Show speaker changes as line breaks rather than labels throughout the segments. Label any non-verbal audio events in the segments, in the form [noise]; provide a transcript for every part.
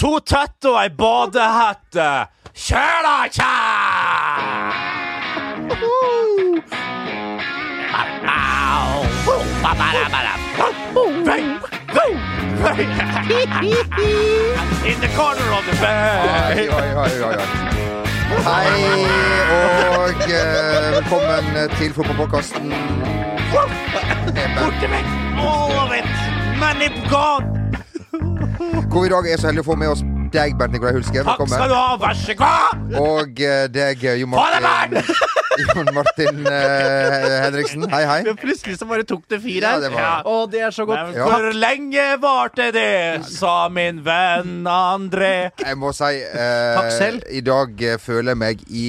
To tett og ei badehette. Kjør da, kjær! In the corner of the bay.
Oi, oi, oi, oi, oi. Hei og eh, velkommen til fotballpodkasten.
Borte vekk. All of it. Men i gone.
Hvor vi i dag er så heldige å få med oss deg, Bernt Nikolai Hulske.
Takk skal
Velkommen.
du ha. Vær så god.
Og eh, deg, eh, Jon
Ha det,
Martin, [laughs] Jon Martin eh, Henriksen. Hei, hei.
Men [laughs] plutselig så bare tok det fyr
Ja,
her.
det var-
Å, det er så godt.
Men
Ja.
hvor lenge varte det, sa min venn André.
Jeg må si eh,
Takk selv.
I dag eh, føler jeg meg i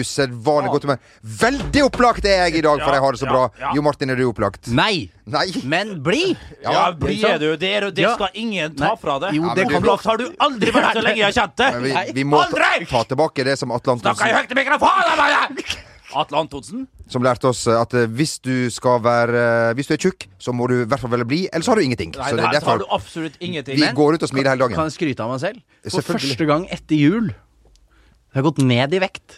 usedvanlig godt humør. Veldig opplagt er jeg i dag, for jeg har det så
Ja,
bra.
ja.
Jo Martin, er du opplagt?
Nei,
Nei.
men bli!
Ja,
Ja,
bli
ikke sant?
du. Det, er, det
Ja.
skal ingen ta
Nei.
fra deg.
Jo,
Ja, det men kan du-
Opplagt har du aldri vært så lenge jeg har kjent
Men vi,
deg.
vi må ta,
Aldri!
ta tilbake det som Atle
Snakka i
Antonsen
høyt i mikrofonen! bare! Atle Antonsen.
Som lærte oss eh, at eh, hvis du skal være eh, Hvis du er tjukk, så må du i hvert fall velge bli, ellers har du ingenting.
Nei,
så det
der
er
tar
derfor
du absolutt ingenting.
vi går ut og smiler hele dagen.
Kan jeg skryte av meg selv? For
Selvfølgelig.
første gang etter jul har jeg gått ned i vekt.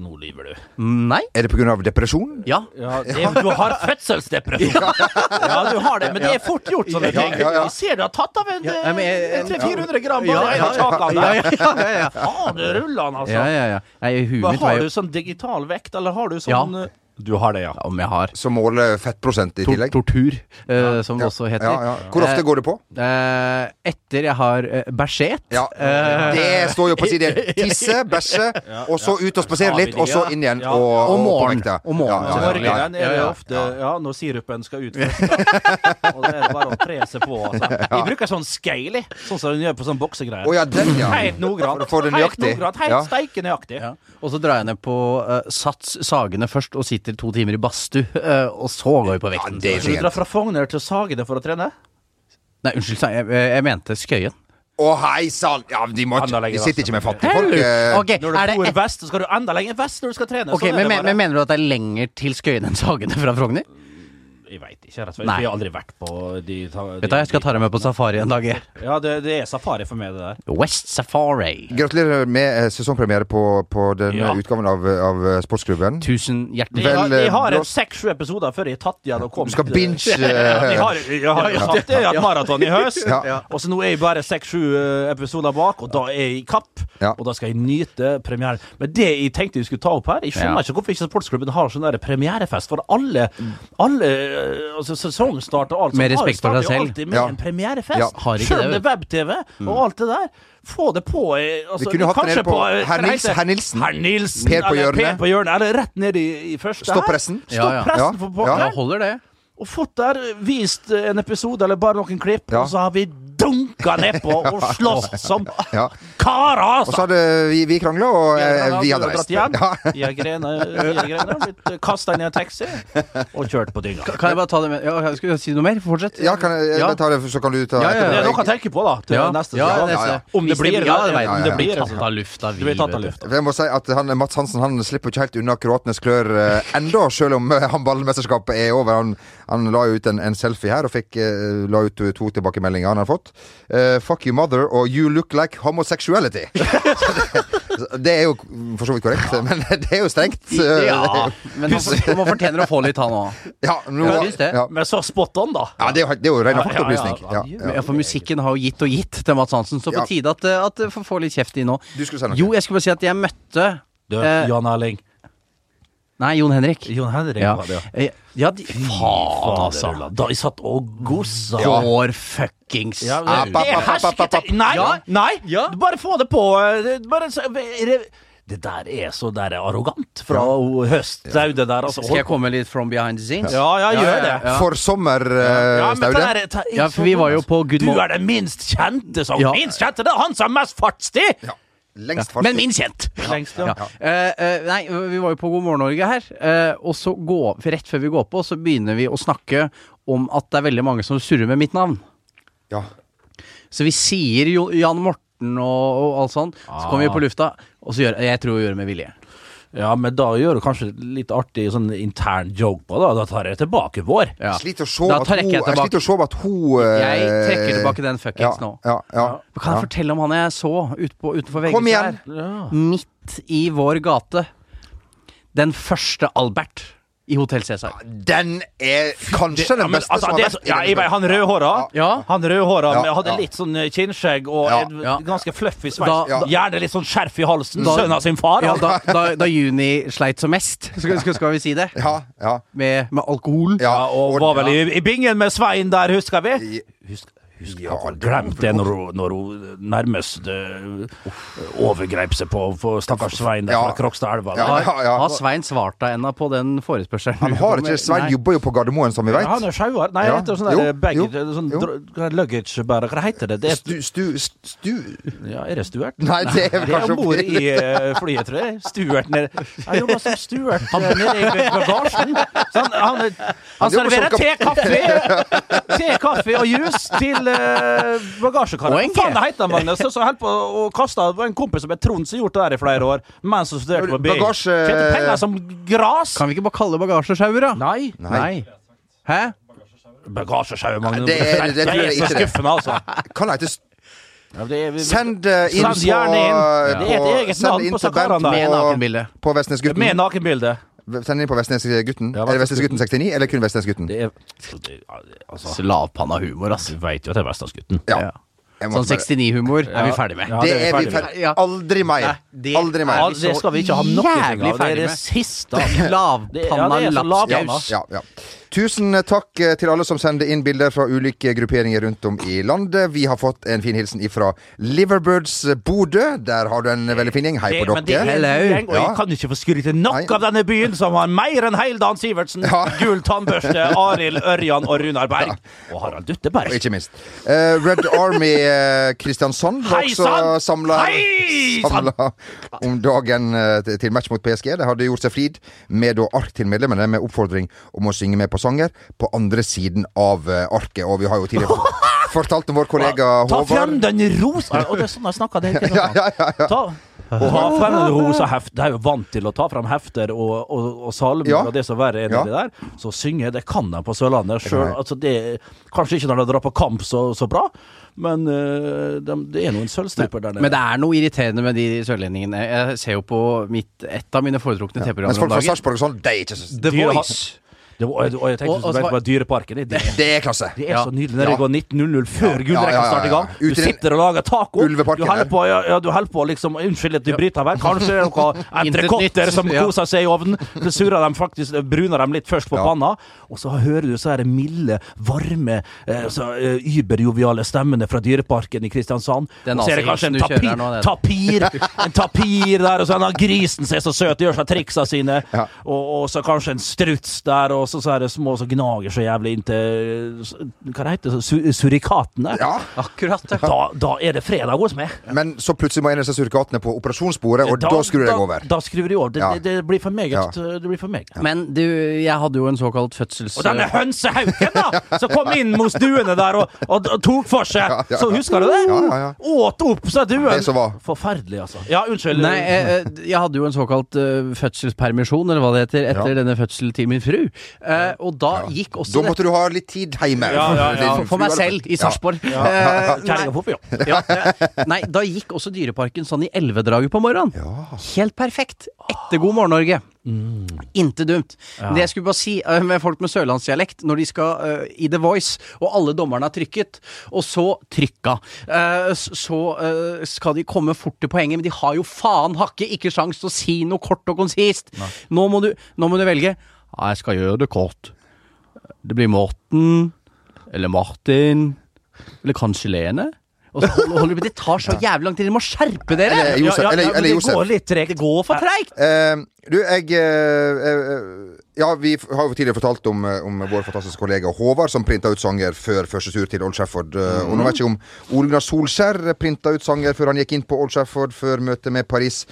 Nå lyver du.
Nei.
Er det pga. depresjon?
[laughs]
Ja.
det, du har
[laughs]
fødselsdepresjon. Ja, du har det, men det er fort gjort, sånne ting.
ja, ja.
Vi ser du har tatt av en, eh,
Ja, men jeg-
en 300-400 gram
Ja,
bare i
ja,
kjakan
ja,
der.
ja, ja, ja, ja.
Faen, det ruller han, altså.
ja, ja, ja. Nei, huet
Hva
mitt var
har
jo
du sånn digital vekt, eller har du sånn
Ja.
eh, Du har det, ja.
Ja, Om jeg har
Som måler fettprosent i
tor
tillegg?
tortur, eh, som
Ja.
det også heter.
Ja, ja. Hvor ofte går du på?
Eh, etter jeg har eh, bæsjet
Ja.
eh,
Det står jo på siden.
[laughs]
Tisse, bæsje, og så ut og spasere litt, og så inn igjen.
Ja.
Og,
Og morgen.
på vekta.
Og morgen.
Ja, ja, ja, ja.
Morgenen er det
ja, ja.
ofte Ja, når sirupen skal ut
[laughs]
først. da. Og det er det bare å tre seg på, altså. Vi bruker sånn skeili, sånn som den gjør på sånn boksegreier.
Å ja, den, ja.
Helt nogrant.
For å få det
Helt
nøyaktig.
nogrant. Helt
Ja.
steike nøyaktig.
Ja. Og så drar jeg ned på eh, Sats Sagene først og sitter to timer i badstue, eh, og så går vi på
Ja,
vekten.
det
Så du
er
drar fra Fogner til Sagene for å trene?
Nei, unnskyld, sa jeg, eh, jeg jeg mente Skøyen.
Å, hei sann! Ja, de, må,
Han har lenge
de sitter
vært
ikke med fattige folk. eh.
Ok,
Når du
er det
bor
et,
vest, så skal du enda lenger vest når du skal trene.
ok,
sånn
men,
er det
men,
bare.
men mener du at det er lenger til Skøyen enn Sagene fra Frogner?
Jeg veit ikke. rett og slett.
Nei.
Vi har aldri vært på de, ta, de
Vet du, hva, Jeg skal ta deg med på safari en dag. jeg.
Ja, det, det er safari for meg, det der.
West Safari.
Gratulerer med eh, sesongpremiere på, på den
Ja.
eh, utgaven av, av eh, Sportsklubben.
Tusen
De,
hjertelig
Vel,
har- de
eh,
har
blå-
en seks-sju episoder før jeg har tatt igjen og kom
Du skal
til-
binge
[laughs] Ja,
eh,
de har, jeg har jo sagt det, jeg har hatt maraton i høst.
Ja.
Og så nå er jeg bare seks-sju eh, episoder bak, og da er jeg i kapp.
Ja.
Og da skal jeg nyte premieren. Men det jeg tenkte vi skulle ta opp her Jeg skjønner
Ja.
ikke hvorfor ikke sportsklubben har sånn der premierefest. For alle, alle eh, altså sesongstart og alt
Med
sånt har-
respekt for
starter
deg
jo
selv.
alltid med
Ja.
en premierefest.
Ja,
har ikke
Selv
det, Mm.
om det er web-TV og alt det der. Få det på eh, altså,
Vi kunne hatt det
kanskje
nede på
eh,
Herr
hva det
Nils-
heter?
Herr Nilsen.
Herr Nilsen.
Per på
eller
hjørnet.
Per på hjørnet. Eller rett ned i, i første
Stopp
her.
pressen.
Stopp
Ja, ja.
pressen
Ja,
for
ja.
Ja,
pokker.
holder det.
Og fått der vist eh, en episode eller bare noen klipp,
Ja.
og så har vi dunka
[laughs]
nedpå og slåss som
Ja.
karer,
Og så
altså!
hadde vi, vi krangla, og eh, vi hadde
dratt
reist.
hjem.
Ja.
Jeg grener, jeg grener, blitt kasta inn i en
[laughs]
taxi og kjørt på dynga.
Kan jeg bare ta det med ja, jeg Skulle si noe mer? Fortsett.
Ja, kan jeg, jeg
Ja.
bare ta det, så kan du ta
Ja, ja, ja.
Det er noe å
etterpå?
tenke på, da, til
Ja,
neste
ja,
sesong.
neste.
Om det
Hvis
blir
det- ja, det vet
Om
jeg.
det blir
Tatt
resultat.
av lufta,
Du blir tatt av
vet du.
lufta.
For Jeg må si at han, Mats Hansen han slipper ikke helt unna kroatenes klør eh, ennå, selv om eh, håndballmesterskapet er over. Han, han la jo ut en, en selfie her og fikk, eh, la ut to tilbakemeldinger han har fått. Eh, fuck you mother og you look like homosexuality. [laughs] Så det, det er jo for så vidt korrekt, men [laughs] det er jo strengt. eh,
Ja,
[laughs]
men han, for- han fortjener å få litt, han òg.
ja, nå,
Ja, jeg syns det.
ja.
Men så spot on, da.
Ja, det er jo, det er jo ren faktaopplysning.
Ja, ja,
Ja,
ja.
ja.
Ja, for musikken har jo gitt og gitt til Mads Hansen, så på
Ja.
tide at, eh, at jeg får få litt kjeft i nå.
Du skulle si noe.
Jo, jeg skulle bare si at jeg møtte
Du,
Eh,
Jan Erling.
Nei, Jon Henrik.
Jon Henrik
Ja,
var det, ja.
Eh, ja de, faen, altså.
Faderullan. Da jeg satt og gossa.
Går fuckings
Ja,
au.
men det det er hersketek... Nei,
Ja.
nei!
Ja.
du Bare få det på. eh, Bare, så- re- det der er så der arrogant fra ja. høstaudet der, altså.
Skal jeg komme litt from behind the scenes?
Ja, ja, gjør det.
Ja.
For sommer,
Ja,
eh,
men
Staude.
ta der- ta-
Ja, for vi var jo på Good
Du
Morning-
er den minst kjente som
Ja.
Minst kjente! Det er han som er mest fartstid!
Ja. Lengst
Men
fartstid.
min kjent!
Lengst, ja.
Ja. Eh, eh, nei, vi var jo på God morgen Norge her, eh, og så gå, for rett før vi går på, så begynner vi å snakke om at det er veldig mange som surrer med mitt navn.
Ja.
Så vi sier
Ah.
jo Jan Morten og, og alt sånn, så kommer vi på lufta, og så gjør jeg tror vi gjør det med vilje.
Ja, men da gjør du kanskje litt artig sånn intern joke på det. Da tar jeg tilbake vår.
Ja.
Sliter å se
Da
at
trekker
hun Jeg
jeg tilbake.
sliter å se at hun
Jeg
eh,
trekker tilbake den fuckings nå.
Ja, ja, ja.
Kan jeg fortelle om han jeg så ut på, utenfor VG?
Kom igjen.
Ja.
Midt i vår gate. Den første Albert i Hotell Cæsar.
Den er kanskje
Ja,
den
men,
beste
altså,
som
det er
har vært
så- ja, jeg vet, Han rødhåra
Ja.
Han rødhåra
Ja,
med- hadde
ja.
litt sånn eh, kinnskjegg og
Ja.
en
Ja.
ganske fluffy sveis.
Da- Ja.
Gjerne litt sånn skjerf i halsen.
Da-
Sønnen av sin far.
Ja,
altså.
da, da, da Juni sleit som mest, skal, skal, skal vi si det?
Ja, ja,
Med, med alkohol.
ja.
Ja, og var vel i, i bingen med Svein der, husker vi?
I-
Husk, husker
Ja,
at hun
det-
glemte det når hun, når hun nærmest øh, overgrep seg på, på stakkars Svein der
Ja.
fra Krokstadelva.
Ja,
Har,
ja, ja.
har Svein svart deg ennå på den forespørselen?
Han har ikke Svein
Nei.
jobber jo på Gardermoen, som vi
Ja, han
vet.
er sjauer. Nei,
Ja.
etter sånn der
Jo,
baggage
jo,
sånn
jo.
dr- hva er luggage bare, Hva heter det? det er,
Stu, stu, stu
ja, er det Stuart?
Nei, det er vel
Det er
kanskje
om bord i eh, flyet, tror jeg. Stuart nede Jeg jobber som Stuart eh, nede i bagasjen. Så han han, han
jobber som
serverer te, kaffe Te, kaffe og juice til eh, bagasjekaret.
Poenget.
Hva faen det heter han, Magnus? Så holdt på å kaste Det var en kompis som het Trond som gjorde det der i flere år, mens han studerte på BI.
Bagasje-
Tjente penger som gras.
Kan vi ikke bare kalle det bagasjesjauer, da?
Nei.
Nei.
Hæ?
Bagasjesjau, Magnus.
Nei, det er- det tror jeg
er så
ikke det.
skuffende, altså.
Kan hete
Ja, det er- vi-
Send eh, inn
Send
på, eh,
gjerne inn. Det er et
på
eget
Send
navn
inn
på
til Bent
Sakaran der.
Med
på, eh,
nakenbilde.
på Vestnesgutten.
Med nakenbilde.
Send inn på Vestnesgutten.
Ja,
Er det Vestnesgutten 69, eller kun Vestnesgutten?
Det er det- altså,
Slavpanna humor, altså.
Du veit jo at det er Vestlandsgutten.
Ja.
Ja.
Jeg må
Sånn
bare-
69-humor er vi ferdig med.
Ja,
Det er vi
ferdig med.
ferdig
Ja.
Aldri mer.
Nei, det
Aldri mer.
Ja,
er vi
det skal vi ikke ha
så
noe av.
jævlig
Det er det
ferdig med.
siste.
[laughs]
Ja,
Lavpanna
det er så
Ja,
lapskaus.
Applaus.
ja, ja. Tusen takk eh, til alle som sender inn bilder fra ulike grupperinger rundt om i landet. Vi har fått en fin hilsen ifra Liverbirds eh, Bodø. Der har du en eh, veldig fin gjeng. Hei
Det,
på
men det er
dere.
en
Hello.
gjeng, og jeg
Ja.
kan ikke få skryte nok
Nei.
av denne byen, som har mer enn hele Dan Sivertsen,
Ja.
Gul tannbørste, Arild Ørjan og Runar Berg. Og Harald
Og
Dutteberg.
ikke minst. Eh, Red Army eh, Kristiansand var
Hei,
også
sant!
samla
Hei, sant!
om dagen eh, til- til match mot PSG. De hadde gjort seg flid med da ark til medlemmene med oppfordring om å synge med på sanger på andre siden av eh, arket. Og vi har
[laughs]
jo tidligere fortalt om vår kollega
Ta
uh, Håvard.
frem den rosa Og det er sånn jeg snakker. Det er ikke
[laughs] Ja,
sant.
ja, ja, ja.
Ta, ta frem den rosa heft. De er jo vant til å ta frem hefter og, og, og salmer
Ja.
og det som verre er
Ja.
nedi der. Så synge, det kan de på Sørlandet sjøl.
de.
Altså, det- kanskje ikke når de drar på kamp så, så bra, men øh, de, det er noen sølvstriper der
Men
nede.
det er noe irriterende med de sørlendingene. Jeg ser jo på mitt, et av mine foretrukne
Mens
TV-programmer
folk fra
om dagen.
Sarpsborg og sånn, de er ikke så
The
Dyre har-
Voice.
Det var, og, og jeg tenkte
Og- og
du vet,
så var-
på Dyreparken. Det, det,
Det er klasse.
det er
Ja.
så nydelig når det går 19.00 før gullrekka
ja, ja, ja,
starter i gang.
ja. Ut i
Du
den-
sitter og lager taco. Du
Ulveparken
holder
der.
på, ja, ja, du holder på liksom Unnskyld at du bryter her. Kanskje
[laughs]
det er noen
Intet
entrecôter
nytt.
som
Ja.
koser seg i ovnen. Så surrer de faktisk bruner dem litt først på
Ja.
panna, og så hører du så her milde, varme, eh, så eh, überjoviale stemmene fra Dyreparken i Kristiansand.
Den
Og så er det kanskje
nazihilsen
en
du kjører her
tapir,
nå, det er
tapir, en tapir der, og så er den grisen som er så søt, gjør seg triksa sine,
Ja.
og, og så kanskje en struts der, og så, så er det små som gnager så jævlig inntil s- Hva det heter det? Su surikatene?
Ja.
Akkurat, ja.
Da, da er det fredag hos meg.
Men så plutselig må en av disse surikatene på operasjonsbordet, og da, skrur jeg over.
Da, da skrur de over. Det,
Ja.
det, det blir for meget.
Ja.
Det blir for meget.
Men du, jeg hadde jo en såkalt fødsels...
Og denne hønsehauken, da! Som kom inn mot duene der og, og, og tok for seg.
Ja, ja,
Så
ja.
husker du det?
Ja, ja, ja.
Åt opp, sa duen.
Det som var.
Forferdelig, altså. Ja, unnskyld.
Nei, eh, jeg, jeg- jeg hadde jo en såkalt eh, fødselspermisjon, eller hva det heter, etter denne fødselen til min fru. Eh, og da gikk også
Da måtte du ha litt tid hjemme.
Ja, ja, ja.
Din
For meg
frue,
selv,
eller?
i
Ja.
Sarpsborg. Eh,
[laughs]
Kjerringa på jobb.
Ja, eh, nei, da gikk også Dyreparken sånn i elvedraget på morgenen. Helt perfekt. Etter God morgen, Norge. Intet dumt. Men Det jeg skulle bare si eh, med folk med sørlandsdialekt, når de skal eh, i The Voice, og alle dommerne har trykket, og så trykka, eh, s- så eh, skal de komme fort til poenget, men de har jo faen hakke ikke sjans til å si noe kort og konsist. Nå må du, nå må du velge. Ja, jeg skal gjøre det kort. Det blir Morten, eller Martin, eller kanskje Lene. Og så holder, holder, de- det tar så jævlig lang tid. Dere må skjerpe dere!
Eller
Ja,
Josef.
ja, ja,
Eller,
men
eller
det
Josef.
går litt tregt. Det går for
Treigt!
Eh, du, jeg eh, eh, Ja, Vi f- har jo tidligere fortalt om, eh, om vår fantastiske kollega Håvard, som printa ut sanger før første tur til Old Shafford. eh,
Mhm.
Og nå vet jeg ikke om Ole Gunnar Solskjær printa ut sanger før han gikk inn på Old Shafford før møtet med Paris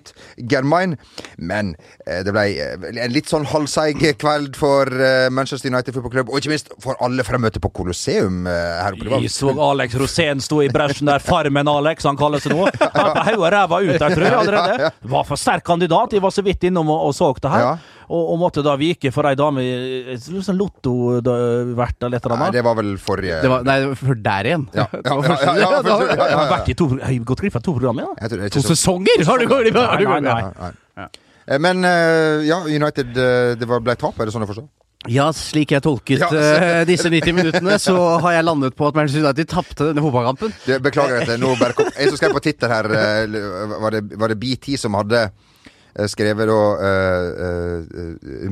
Saint-Germain. Men eh, det ble eh, en litt sånn halvseig kveld for eh, Manchester United fotballklubb, og ikke minst for alle fremmøtte på Colosseum eh, her oppe. Det var-
Vi så Alex Rosén sto i bresjen der Farmen-Alex, han kalles det nå. Han på hodet og ræva ut der, tror jeg allerede. Var for sterk kandidat. Jeg var så vidt innom og, og så det her.
Ja.
Og, og måtte da vike for ei dame i- sånn Lotto-vert eller et eller
Nei,
annet.
det var vel forrige
Det var, nei, for der igjen.
Ja, ja, ja, ja, ja,
[laughs] Det var-
for- ja, ja,
Jeg
ja.
har vært i to, jeg har gått glipp av to program, ja.
Jeg tror det er ikke
To
så-
[laughs] sesonger har du gått har du
Nei,
gått-
nei, nei.
Nei. Eh, Men eh, ja, United eh, det var- ble tap, er det sånn jeg forstår?
Ja, slik jeg tolket
Ja.
eh, [laughs] disse 90 minuttene, så har jeg landet på at Manchester United tapte denne fotballkampen.
Det, beklager dette. Nå bare kom, jeg som skrev på Twitter her, eh, l- var det, var det BT som hadde eh, skrevet da eh, eh,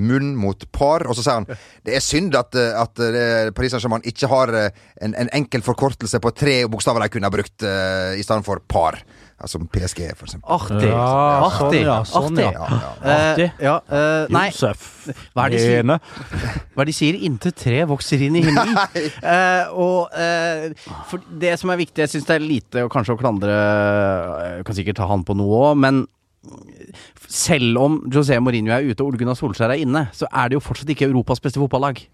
munn mot par, og så sier han det er synd at, eh, at eh, Paris Saint-Germain ikke har eh, en, en enkel forkortelse på tre bokstaver de kunne ha brukt eh, i stedet for par. Altså PSG, for eksempel.
Artig.
Ja, sånn,
artig.
ja, sånn,
artig.
Ja, ja.
Eh,
Artig.
ja, eh, nei,
Josef.
Hva er det de sier?
Ene.
hva er det de sier? Inntil tre vokser inn i [laughs] himmelen. Eh, og eh, for det som er viktig, jeg syns det er lite å kanskje å klandre eh, Jeg kan sikkert ta han på noe òg, men selv om José Mourinho er ute og Ole Gunnar Solskjær er inne, så er det jo fortsatt ikke Europas beste fotballag.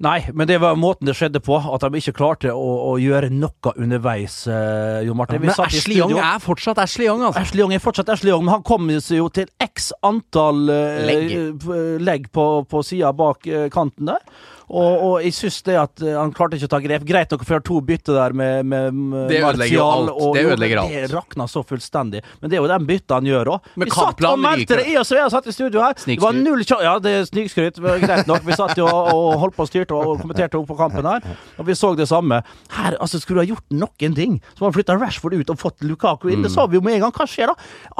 Nei, men det var måten det skjedde på. At de ikke klarte å, å gjøre noe underveis, eh, Jo Martin. Vi
Men
satt i
Ashley
studio.
Young er fortsatt Ashley Young, altså.
Ashley Young er fortsatt Ashley Young, men han kom seg jo til x antall eh,
Legg.
eh, p- legg på, på sida bak eh, kanten der. Og, og jeg syns det at eh, han klarte ikke å ta grep. Greit nok å få gjøre to bytter der med, med med
Det ødelegger jo
Martial
alt. Det
jo, men
ødelegger alt.
Det rakna så fullstendig. Men det er jo den bytta han gjør òg.
Men
Vi satt og
kampplanen
meldte
ryker.
det, jeg og Svea satt i studio her. Det var
Snikskryt.
null kja- Ja, det er snikskryt, men greit nok. Vi satt jo og og holdt på og styrte og kommenterte opp på kampen her, og vi så det samme. Her, altså, skulle du ha gjort noen ting, så har du flytta Rashford ut og fått Lukaku inn. Det sa vi jo med en gang. Hva skjer da?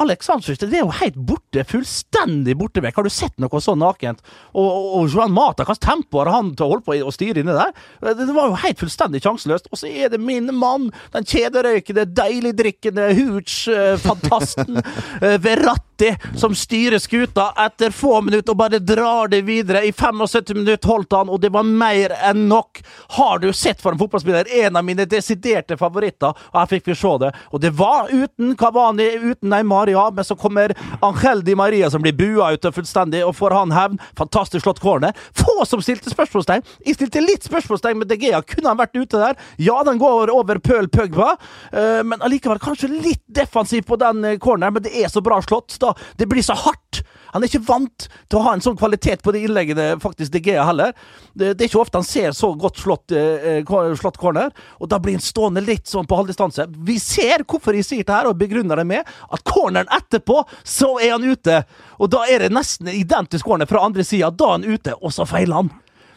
Alexander det er jo helt borte. Fullstendig borte vekk. Har du sett noe så nakent? Og, og, og Johan Mata, hva slags tempo har han til å holde på i- og styre inne der? Det, det var jo helt fullstendig sjanseløst. Og så er det min mann, den kjederøykende, deiligdrikkende [laughs] hooch-fantasten eh, Verratti, som styrer skuta etter få minutter og bare drar det videre. I 75 minutter holdt han, og det var mer enn nok. Har du sett for en fotballspiller? En av mine desiderte favoritter. Og her fikk vi se det. Og det var uten Cavani, uten Neymar, ja, men så kommer Angel Di Maria, som blir bua ut og fullstendig, og får han hevn. Fantastisk slått corner. Få som stilte spørsmålstegn. Jeg stilte litt spørsmålstegn med De Gea. Kunne han vært ute der? Ja, den går over Pøl Pøgba, eh, men allikevel kanskje litt defensiv på den eh, corneren. Men det er så bra slått. Da. Det blir så hardt. Han er ikke vant til å ha en sånn kvalitet på de innleggene, faktisk, De Gea heller. Det, det er ikke ofte han ser så godt slått, eh, eh, ko- slått corner, og da blir han stående litt sånn på halvdistanse. Vi ser hvorfor jeg sier det her, og begrunner det med at corneren etterpå, så er han ute. Og da er det nesten identisk corner fra andre sida. Da er han ute, og så feiler han.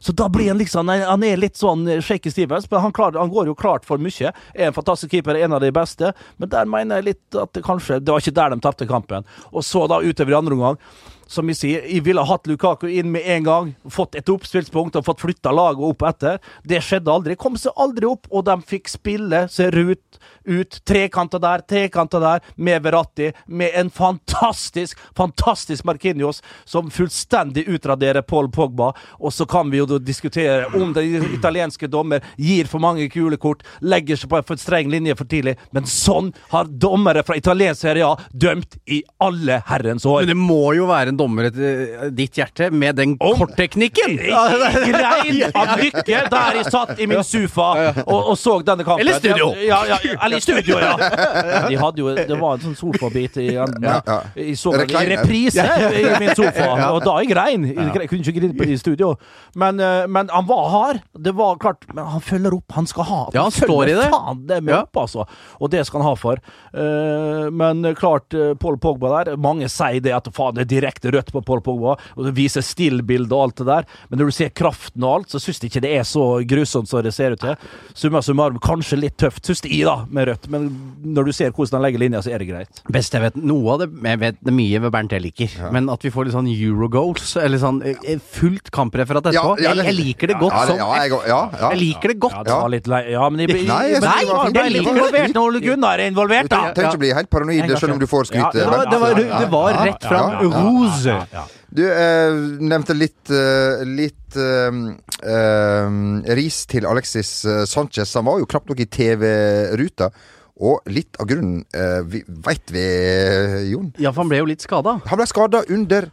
Så da blir han liksom Han er litt sånn shaky Stevens, men han, klarer- han går jo klart for mye. Er en fantastisk keeper, en av de beste, men der mener jeg litt at det kanskje Det var ikke der de tapte kampen. Og så da utover i andre omgang. Som vi sier, jeg ville hatt Lukaku inn med en gang, fått et oppspillspunkt og fått flytta laget opp etter. Det skjedde aldri. Kom seg aldri opp, og de fikk spille seg ut, ut. Trekanter der, trekanter der, med Verratti, med en fantastisk, fantastisk Markinios som fullstendig utraderer Paul Pogba. Og så kan vi jo da diskutere om den italienske dommer gir for mange gule kort, legger seg på en for streng linje for tidlig, men sånn har dommere fra italiensk serie A dømt i alle herrens år.
Men det må jo være en dommer etter ditt hjerte, med den kortteknikken!
Grein av lykke der jeg satt i min sofa og, og så denne kampen.
Eller studio.
Ja, ja, ja, eller i studio, ja. De hadde jo, det var en sånn sofabit i enden.
Ja, ja.
Jeg så den i
Recliner.
reprise i min sofa, og da jeg grein. Jeg kunne ikke grine på- i studio. Men, eh, men han var hard. Det var klart, men han følger opp. Han skal ha.
Ja, han står i det.
Faen, det er med
Ja.
opp, altså. Og det skal han ha for. Eh, men klart, eh, Paul Pogba der Mange sier det at faen, det er direkte rødt på Paul Pogba, og det viser stillbilde og alt det der, men når du ser kraften og alt, så syns de ikke det er så grusomt som det ser ut til. Summa summarum, kanskje litt tøft, syns de, da, med rødt, men når du ser hvordan han legger linja, så er det greit.
Best jeg vet, noe av det Jeg vet det er mye ved Bernt jeg liker, men at vi får litt sånn Eurogoals, eller sånn eh, fullt kampreferat etterpå
Ja, ja,
jeg, jeg liker det godt
Ja, det-
sånn.
ja,
Jeg,
jeg, ja, ja.
liker det
Ja,
godt.
det var litt lei... Ja, men jeg,
Nei, jeg synes
men-
det var fint.
jeg liker involvert når Ole Gunnar er involvert,
Du
da!
trenger ikke å bli helt paranoid
Engasjert.
selv om du får skryt.
Ja,
Det var, det var, det var rett fram.
Ja, ja, ja, ja,
Rose!
ja.
Du eh, nevnte litt, eh, litt eh, eh, ris til Alexis eh, Sanchez. Han var jo knapt nok i TV-ruta. Og litt av grunnen eh, vi, veit vi, eh, Jon.
Ja, for han ble jo litt skada.
Han ble skada under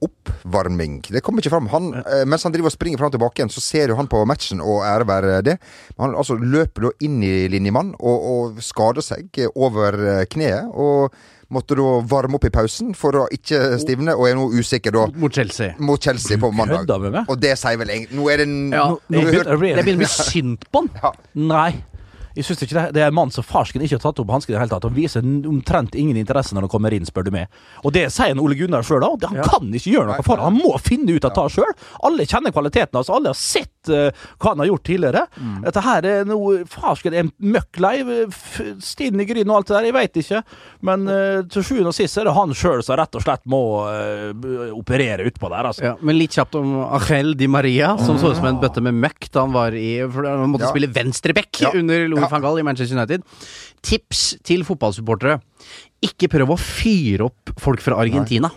oppvarming. Det kommer ikke fram. Han, eh, mens han driver og springer fram og tilbake igjen, så ser jo han på matchen, og ære være det. Men han altså, løper da inn i linjemann og, og skader seg eh, over eh, kneet. Og måtte da varme opp i pausen for å ikke stivne, og er nå usikker da
Mot Chelsea.
mot Chelsea på mandag.
kødder med meg?
Og det sier vel egentlig Nå er det en
Ja,
nå
nå- nå har vi
begynner-
hørt-
blir-
Jeg begynner å bli synd på han.
Nei. Jeg synes ikke Det Det er en mann som farsken ikke har tatt opp hansken i det hele tatt. Han viser n- omtrent ingen interesse når han kommer inn, spør du meg. Og det sier en Ole Gunnar sjøl òg. Han kan ikke gjøre noe for det. Han må finne ut av det sjøl. Alle kjenner kvaliteten hans. Alle har sett eh, hva han har gjort tidligere.
Mm.
Dette her er noe Farsken er møkk lei. f- Stinn i grynen og alt det der. Jeg veit ikke. Men eh, til sjuende og sist er det han sjøl som rett og slett må eh, b- operere utpå der, altså.
Ja, men litt kjapt om Angel Di Maria, som så ut som en bøtte med møkk da han var i For han måtte
Ja.
spille venstreback
Ja.
under Louis
Ja.
van Gaal i Manchester United. Tips til fotballsupportere. Ikke prøv å fyre opp folk fra Argentina.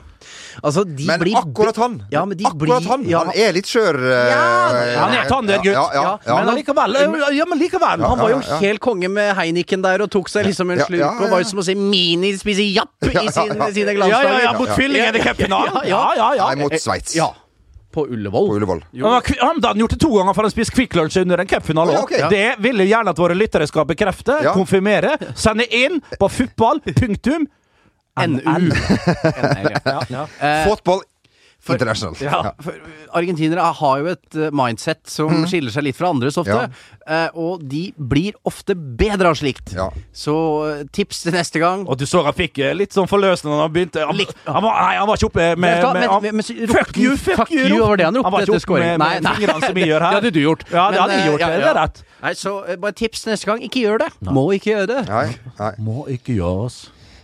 Altså, de
Men
blir
akkurat han!
Ja, men de
akkurat
blir-
han!
ja.
Han er litt skjør. eh,
Ja,
Han er tander, gutt.
Ja, ja, ja,
Men likevel, eh, ja, men likevel.
Han var jo
Ja, ja, ja.
helt konge med Heineken der og tok seg liksom en
Ja,
slurk
ja, ja,
og var
ja.
jo som å si mini spise japp i
Ja, ja,
sin,
ja.
Ja,
sine glansdager.
ja, ja, mot
Ja, ja.
Tvillingedekepfinalen.
Ja, ja.
Ja, ja, ja.
Nei, mot Sveits.
Ja. På Ullevål.
På Ullevål.
Han har kvi- han hadde gjort det to ganger for han spiste Kvikk Lunsj under en cupfinale.
Ja, ok.
Det ville jeg gjerne at våre lyttere skal bekrefte,
Ja.
konfirmere, sende inn på fotball, punktum,
NU. NL, [laughs] ja.
ja.
Football International.
Ja.
For uh, argentinere har jo et eh, mindset som skiller seg litt fra andres ofte.
Mhm. Ja.
eh, Og de blir ofte bedre av slikt.
Ja.
Så eh, tips til neste gang.
Og du så han fikk eh, litt sånn forløsende når han begynte. Han,
Litt.
han, var, nei, han var ikke oppe eh, med,
Vet du hva?
med
Men-
han-
men- men så ropte
Fuck
han-
you, fuck,
fuck
you!
you, var det han ropte
var ikke
etter
oppe
scoring.
med,
Nei,
med
nei.
fingrene som vi
[laughs]
gjør her.
Det hadde du gjort.
Ja, det
Men,
hadde jeg
eh,
gjort.
ja,
det,
ja.
Det er rett.
Nei, så eh, bare tips neste gang. Ikke gjør det. Må ikke gjøre det.
Nei, nei.
Må ikke gjøres.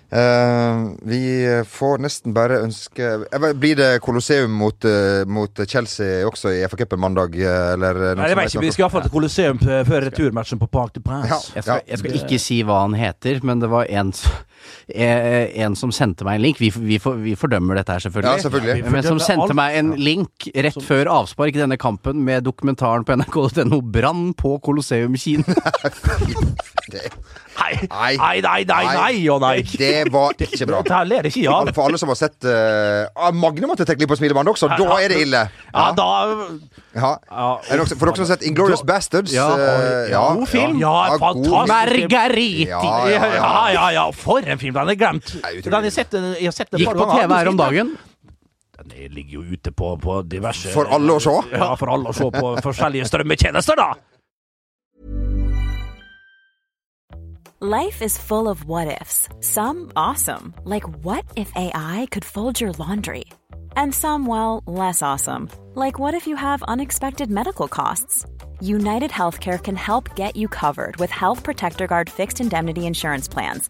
Eh, vi får nesten bare ønske Eh, men Blir det Colosseum mot, eh, mot Chelsea også i FA-cupen mandag, eh, eller eh, noen
Nei, jeg
som
vet ikke,
noe?
Vi skal iallfall til Colosseum eh, før returmatchen på Park de Prince.
Ja.
Jeg skal, jeg skal ikke si hva han heter, men det var en, s- [laughs] eh, en som sendte meg en link. Vi, f- vi, for, vi fordømmer dette her, selvfølgelig.
Ja, selvfølgelig.
Men som
Fordømmer alt.
sendte meg en link rett før avspark i denne kampen med dokumentaren på nrk.no 'Brann på Colosseum [laughs] Kino'.
[laughs] Det,
Nei,
Nei.
nei, nei, nei, nei og nei.
det var ikke bra.
Dette her ler ikke jeg av.
For alle som har sett eh, ah, Magne måtte trekke litt på smilebåndet også. Da er det ille.
Ja, da
Ja.
Ja.
Er det også, for dere som har sett Inglorious Bastards
Ja,
eh,
ja, god film. Ja,
god
fantastisk.
film.
Margarite!
Ja,
ja,
ja, ja.
ja, ja. For en film! Den er glemt.
Nei, utrolig.
Den har jeg sett, jeg har sett den
Gikk på TV her om dagen.
Den ligger jo ute på, på diverse
For alle å se?
Ja, for alle å se på forskjellige strømmetjenester, da!
Life is full of what ifs. Some awesome, like what if AI could fold your laundry? And some, well, less awesome, like what if you have unexpected medical costs? United Healthcare can help get you covered with Health Protector Guard fixed indemnity insurance plans.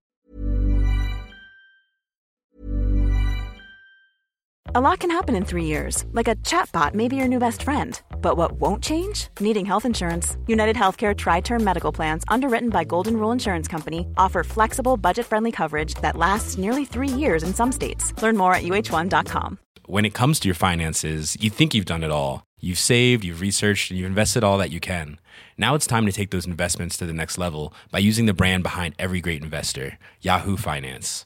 A lot can happen in three years, like a chatbot may be your new best friend. But what won't change? Needing health insurance. United Healthcare Tri Term Medical Plans, underwritten by Golden Rule Insurance Company, offer flexible, budget friendly coverage that lasts nearly three years in some states. Learn more at uh1.com.
When it comes to your finances, you think you've done it all. You've saved, you've researched, and you've invested all that you can. Now it's time to take those investments to the next level by using the brand behind every great investor, Yahoo Finance.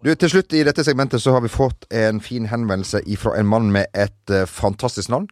Du, til slutt i dette segmentet så har vi fått en fin henvendelse fra en mann med et eh, fantastisk navn.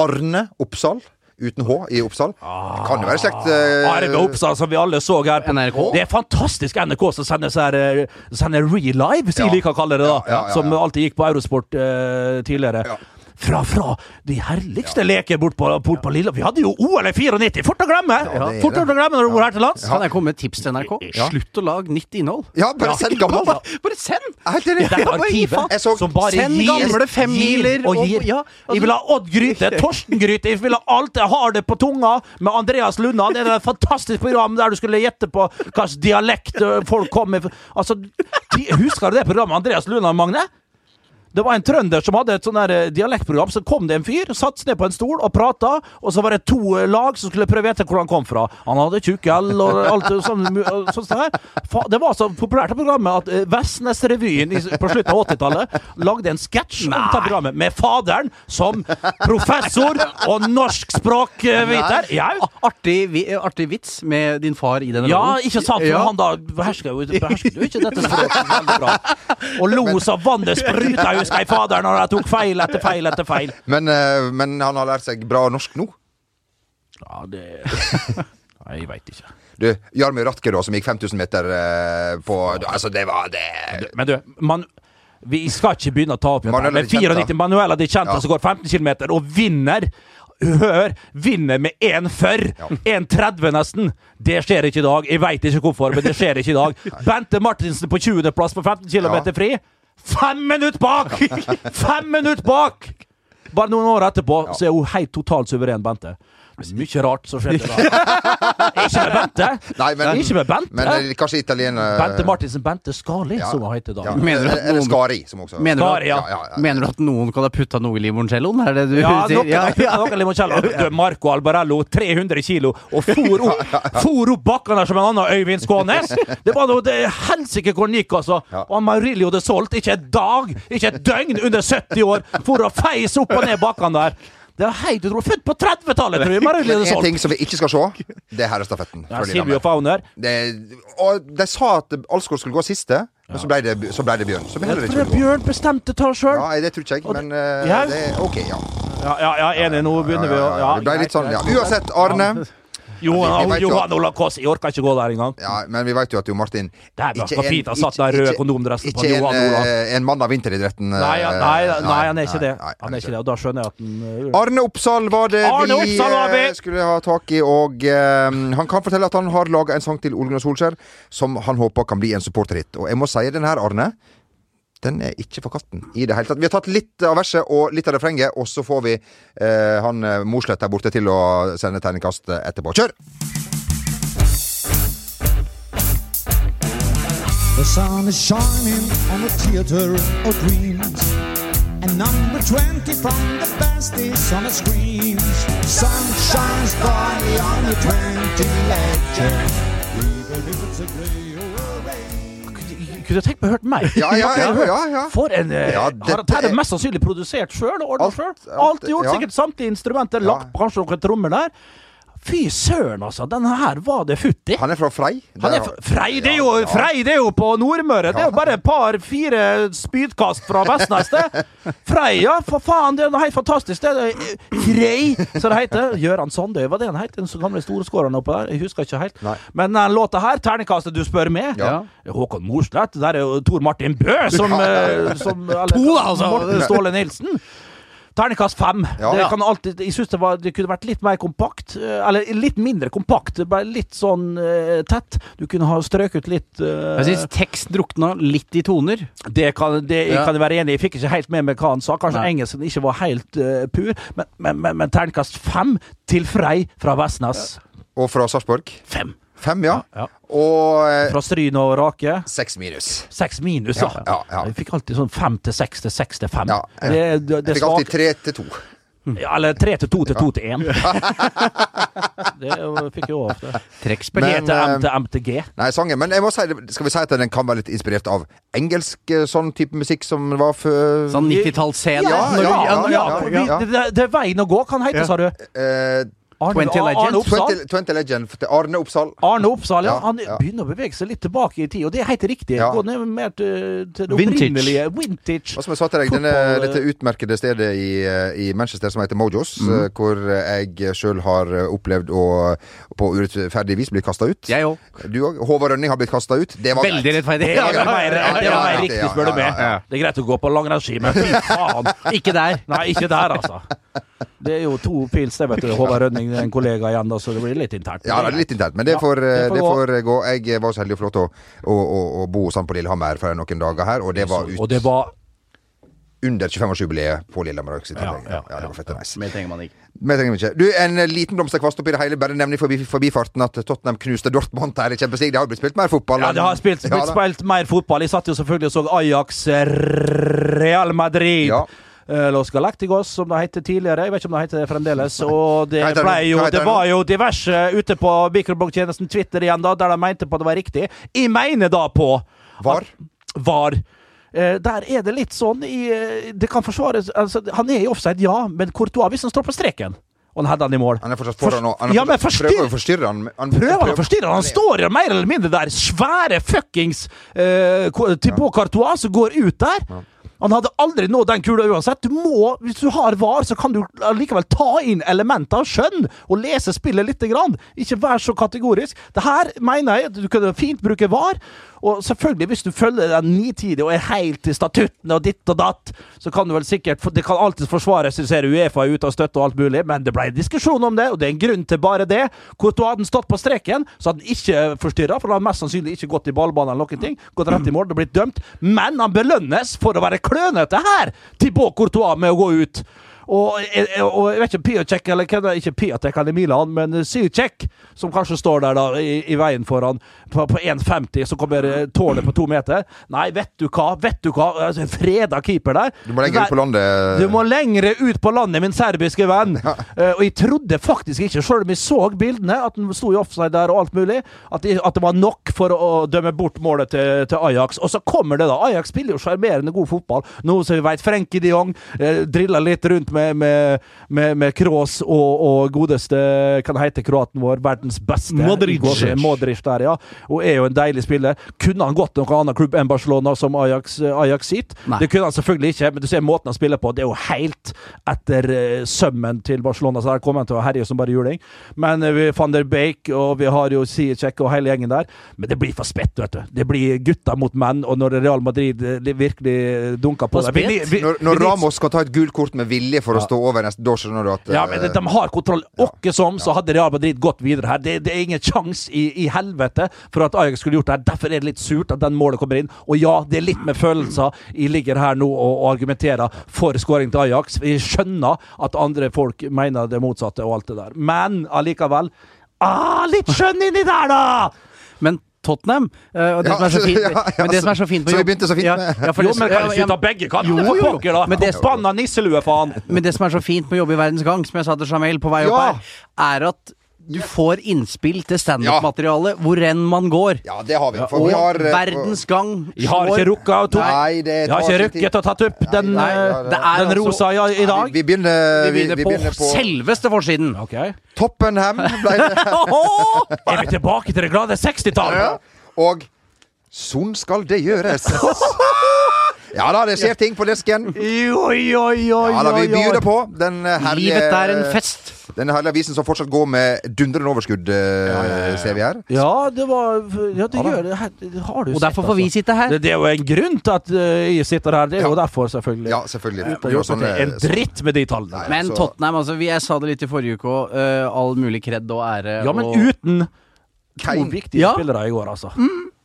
Arne Oppsal. Uten H i Oppsal. Det kan jo være slekt eh,
Arve Ah, Oppsal, altså, som vi alle så her. på-
NRK.
Det er fantastisk NRK som sender, så her, eh, sender Real Live, som
Ja.
jeg liker å kalle det, da.
Ja, ja, ja,
Som
ja.
alltid gikk på Eurosport eh, tidligere.
Ja.
Fra, fra de herligste leker bort på, bort på Lilla Vi hadde jo E OL i 94! Fort å glemme!
Ja, det er
Fort å
det.
glemme når du bor her til lands!
Kan jeg komme med et tips til NRK? Slutt å lage nytt innhold.
Ja, bare send
[laughs]
gammelt.
Bare, bare send!
Jeg er helt enig.
Det er
Bare gi faen.
arkivet
Jeg så-
som bare
Send
gir,
gamle femmiler
gir og
og-
gir.
ja, altså-
jeg vil ha Odd Gryte, Torsten Gryte, jeg vil ha alt jeg har det på tunga med Andreas Lundan. Det er et fantastisk program der du skulle gjette på hvilken dialekt ø, folk kom med. Altså, de, husker du det programmet Andreas Lundan, Magne? Det var en trønder som hadde et sånn der eh, dialektprogram. Så kom det en fyr, satte seg ned på en stol og prata, og så var det to eh, lag som skulle prøve å gjette hvor han kom fra. Han hadde tjukk L og alt det sånn, mu- og sånt der. Fa- Det var så populært det programmet at eh, Vestnesrevyen i s- på slutten av 80-tallet lagde en sketsj om dette programmet med faderen som professor og norskspråkviter. Ja, jo.
Artig, vi- eh, artig vits med din far i denne
Ja,
rollen.
ikke sant? For
Ja.
han da behersker jo, behersker jo ikke dette språket veldig bra. Og lo så vannet spruta, husker jeg, fader, når jeg tok feil etter feil etter feil.
Men, eh, men han har lært seg bra norsk nå.
Ja, det Nei, jeg veit ikke.
Du, Jarmi Ratke, da, som gikk 5000 meter eh, på Altså, det var det
Men du, man Vi skal ikke begynne å ta opp igjen
Manuela
Men
Di Centa.
94 Manuela de Centa
Ja.
som går 15 km og vinner. Hør! Vinner med 1,40. 1,30 nesten. Det skjer ikke i dag. Jeg veit ikke hvorfor, men det skjer ikke i
[laughs]
dag. Bente Martinsen på 20.-plass på 15 km
Ja.
fri. Fem minutter
[laughs]
bak! Fem minutter bak! Bare noen år etterpå så er hun helt totalt suveren, Bente. Mye rart som skjedde
[laughs]
da. ikke med Bente!
Nei, men-
ikke med Bente.
Men eh, kanskje italiener
Bente Martinsen, Bente Skali,
Ja.
som hun heter da.
Ja.
Mener du at
Eller
noen-
Skari, som også
Mener du,
Skari,
at,
ja.
Ja, ja, ja.
mener du at noen kan ha putta noe i limoncelloen? Er det du
Ja,
sier?
noen, noen limoncello. Du, Marco Albarello, 300 kilo, og for opp, for opp bakkene som en annen Øyvind Skånes! Det var noe det helsike hvor han gikk, altså. Og Maurilio de Solt, ikke en dag, ikke et døgn under 70 år, for å feise opp og ned bakkene der. Det er helt utrolig. Født på 30-tallet, tror jeg, Maurilio
Men
de
en
Solt.
ting som vi ikke skal se, det er herrestafetten.
Ja,
fra
Silvio
Lillehammer.
Fauner.
Det, og de sa at Alsgaard skulle gå siste, men så ble det, så ble det Bjørn. Så ble det heller ikke Bjørn.
Bjørn bestemte ta sjøl.
Ja, nei, det tror ikke jeg,
Og det-
men eh,
Ja.
det er OK, ja.
Ja, ja, ja, enig. Nå begynner vi å ja,
Det ble litt sånn, ja. Uansett, Arne. Vi
Johan,
vet jo at-
Johan Olav Kaas, jeg orker ikke gå der engang.
Ja, men vi vet jo at jo Martin
Der var Kapita satt der i rød kondomdressen på
ikke en,
Johan Olav.
eh, en mann av vinteridretten. eh,
Nei, han- nei, nei, han er ikke det.
nei,
Han er ikke det, og da skjønner jeg at han uh,
Arne Oppsal var det
Arne
vi,
Oppsal var vi!
eh, skulle ha tak i, og eh, han kan fortelle at han har laga en sang til Ole Gunnar Solskjær som han håper kan bli en supporterhit. Og jeg må si den her, Arne. Den er ikke for katten i det hele tatt. Vi har tatt litt av verset og litt av refrenget, og så får vi eh, han eh, Morsleth der borte til å sende terningkast eh, etterpå. Kjør!
The sun is shining on the theater of dreams. And number 20 from the past is on the screens. Sun shines brightly on the 20 lecture. Even if it's a gray or a rain.
Kunne tenkt meg å hørt meg.
Ah. Ja, ja, ja, ja, ja.
For en eh,
Ja,
har
dette
han Terje
er-
mest sannsynlig produsert sjøl og ordna
Alt-
sjøl. Alt,
alt-
gjort,
ja.
sikkert samtlige instrumenter, lagt på kanskje noen trommer der. Fy søren, altså. Denne her var det futt i.
Han er fra Frei.
Han er
Der har-
fra- Frei, det er jo,
Ja, ja.
Frei, det er jo på Nordmøre! Det er jo bare et par-fire spydkast fra Vestnes,
[laughs]
det. Frei, ja, for faen! Det er noe helt fantastisk. Det er det- Frei, som det heter. Gøran Sandøy, var det han het? Den så gamle storskåreren oppe der? Jeg husker ikke helt.
Nei.
Men den låta her, 'Terningkastet du spør med',
Ja.
Håkon Morsleth, der er jo Tor Martin Bø som, eh, som eller,
To, altså.
Morten Ståle Nilsen. Terningkast fem.
Ja.
Det
Ja.
kan alltid, jeg syns det, var- det kunne vært litt mer kompakt. eh, Eller litt mindre kompakt, det ble litt sånn eh, tett. Du kunne ha strøket litt eh,
Jeg syns tekst drukna litt i toner.
Det, kan, det jeg
Ja.
kan jeg være enig i. Jeg fikk ikke helt med meg hva han sa. Kanskje
Nei.
engelsken ikke var helt eh, pur. Men, men, men, men terningkast fem til Frei fra Vestnes.
Og fra Sarpsborg.
Fem!
Fem, ja.
Ja, ja.
Og eh,
Fra Stryn og Rake.
seks minus.
Seks minus,
Ja,
da.
ja, ja.
Jeg fikk alltid sånn fem til seks til seks til fem.
Ja, ja.
Det, det, det
Jeg
er
fikk alltid
svakt.
tre til to.
Ja, eller tre til to til to til én. det er jo- fikk jeg òg ofte.
Trekkspill.
P
Men,
til M
eh,
til M til G.
Nei, sangen, men jeg må si, det- skal vi si at den kan være litt inspirert av engelsk eh, sånn type musikk som var før
Sånn 90-talls-CD.
Ja,
når du-
ja,
når-
ja, ja.
Vi- Det, det er veien å gå, kan hete, sa du.
eh,
Arne,
20
Arne
Legends.
Oppsal.
20, 20 Legend til Arne Oppsal.
Arne Oppsal, ja.
Ja,
Han
ja.
begynner å bevege seg litt tilbake i tid, og det er helt riktig.
Ja.
Gå ned mer til, til det
Vintage.
opprinnelige. Vintage.
Og som jeg sa til deg, denne,
Fotball, eh.
dette utmerkede stedet i, eh, i Manchester som heter Mojos, eh, hvor jeg sjøl har eh, opplevd å på urettferdig vis bli kasta ut.
Jeg òg.
Du òg. Håvard Rønning har blitt kasta ut. Det var
Veldig
greit.
rettferdig.
Det var mer,
ja, ja,
det var mer
ja,
riktig,
ja,
spør du
ja,
meg.
ja, ja.
Det er greit å gå på langrennsski, men fy faen.
Ikke der.
Nei, ikke der, altså. Det er jo to pils, det, vet du. Håvard Rønning er en kollega igjen, da, så det blir litt internt.
Ja, det er litt internt, men det
Ja,
får, eh,
det får
det
gå.
får eh, gå. Jeg var så heldig å få lov til å, å, å, å bo hos han på Lillehammer for noen dager her, og det var ut
Og det var
under 25-årsjubileet på Lillehammer. Også, i
Ja,
tillegg.
ja,
ja, det var fett og nice.
Mer trenger man ikke.
Men jeg trenger ikke. Du, En eh, liten blomsterkvast oppi det hele. Bare nevn i forbi, forbifarten at Tottenham knuste Dortmund her i Champions League. Det har jo blitt spilt mer fotball.
Ja,
enn-
det har spilt,
Ja,
spilt,
da.
spilt mer fotball. Jeg satt jo selvfølgelig og så Ajax eh, Real Madrid.
Ja.
Eh, Los Galacticos, som det het tidligere. Jeg vet ikke om det heter det fremdeles. Og det
Hva heter det
ble
nå?
jo
Hva heter
Det
det
var jo diverse ute på mikroblogg-tjenesten Twitter igjen, da, der de mente på at det var riktig. Jeg mener da på
Var?
at- Var. Eh, der er det litt sånn i eh, Det kan forsvares altså, Han er i offside, ja, men Courtois, hvis han står på streken og han header han i mål
Han er fortsatt foran nå. Han er
Ja, men
fortsatt- prøver å
forstyrr
forstyrre han. han
prøver å forstyrre. Han står jo mer eller mindre der. Svære fuckings uh, Thibaut Cartois som går ut der. Han hadde aldri nådd den kula uansett. Du må, hvis du har var, så kan du likevel ta inn elementer av skjønn og lese spillet lite grann. Ikke vær så kategorisk. Det her mener jeg at du kunne fint bruke var. Og selvfølgelig, hvis du følger den nitidig og er helt i statuttene og ditt og datt, så kan du vel sikkert for- Det kan alltids forsvares, du ser Uefa er ute av støtte og alt mulig, men det ble diskusjon om det, og det er en grunn til bare det. Courtois hadde han stått på streken, så hadde han ikke forstyrra, for han hadde mest sannsynlig ikke gått i ballbanen eller noen ting. Gått rett i mål og blitt dømt. Men han belønnes for å være klønete her, Thibaut Courtois, med å gå ut. Og, eh, og jeg vet ikke Piatek eller hvem det er, ikke Piatek han i Milan, men Sycek, som kanskje står der da i, i veien foran på, på 1,50, så kommer eh, tårnet på to meter. Nei, vet du hva, vet du hva! Altså, en Freda keeper der.
Du må legge ut på landet.
Du må lengre ut på landet, min serbiske venn! Eh, og jeg trodde faktisk ikke, selv om jeg så bildene, at den sto i offside der og alt mulig, at, jeg- at det var nok for å dømme bort målet til, til Ajax. Og så kommer det, da. Ajax spiller jo sjarmerende god fotball. Nå som vi veit Frenkie de Jong eh, driller litt rundt med, med, med, med Kroos og, og godeste Kan hete kroaten vår, verdens beste
Modric.
Gåse- Modric der, ja. Og er jo en deilig spiller. Kunne han gått noen annen klubb enn Barcelona, som Ajax, eh, Ajax sitt?
Nei.
Det kunne han selvfølgelig ikke, men du ser måten han spiller på. Det er jo helt etter eh, sømmen til Barcelona, så der kommer han til å herje som bare juling. Men eh, vi van der Beek, og vi har jo Sijek og hele gjengen der. Men det blir for spett, vet du. Det blir gutta mot menn, og når Real Madrid eh, de virkelig dunker på
For
dem.
spett?
Vi- vi-
Når,
vi-
når Ramos skal ta et gult kort med vilje for å stå over neste, da skjønner du at eh,
ja, men de, de har kontroll. Åkke som, så hadde Real Madrid gått videre her. Det, det er ingen sjans i, i helvete for at Ajax skulle gjort det her. Derfor er det litt surt at den målet kommer inn. Og ja, det er litt med følelser. Jeg ligger her nå og, og argumenterer for skåring til Ajax. Vi skjønner at andre folk mener det motsatte og alt det der. Men allikevel ah, Litt skjønn inni der, da!
Men Tottenham eh, og det
Ja,
som er så fint,
ja, ja,
men det som er så fint på
så vi
jobb-
begynte så fint
ja,
med-
ja, for
Jo,
det-
men
ja,
kan ikke
ja,
vi ta begge
Jo,
kantene?
jo, jo.
Pokker, da!
Men det-
Forbanna nisselue, faen!
Men det som er så fint med å jobbe i Verdens Gang, som jeg sa til Jamel på vei opp
Ja.
her, er at du får innspill til standup-materiale hvor enn man går.
Ja, det har vi. For
Og
vi har eh,
Verdens Gang
Jeg har
slår-
ikke rukka å ta
Nei, det
Jeg har
tar
ikke
sin tid.
rukket å tatt opp den,
Nei, nei,
eh,
det-
den
det er altså-
rosa i, i dag.
Vi, vi begynner,
Vi begynner,
vi, vi begynner
på,
på
selveste forsiden.
Ok.
Toppenham ble
[laughs]
det.
Er vi tilbake til det glade 60-tallet?
Og sånn skal det
[laughs]
gjøres. Ja da, det skjer ting på desken.
Oi, oi, oi,
Ja da, Vi
oi, oi.
byr det på. Den eh, herlige
Livet er en fest.
Den herlige avisen som fortsatt går med dundrende overskudd, eh, ser vi her.
Ja, det var Ja, det
Ja da.
gjør det. Her- det Har du
Og
sett,
derfor får vi
altså.
sitte her.
det, det er jo en grunn til at eh, jeg sitter her. Det er jo derfor, selvfølgelig.
Ja, selvfølgelig.
Det er jo ikke en dritt med de tallene.
Nei.
Men
så-
Tottenham, altså, vi- jeg sa det litt i forrige uke òg. all mulig kred og ære.
Ja, men
og,
uten to
Kane.
viktige
Ja.
spillere i går, altså.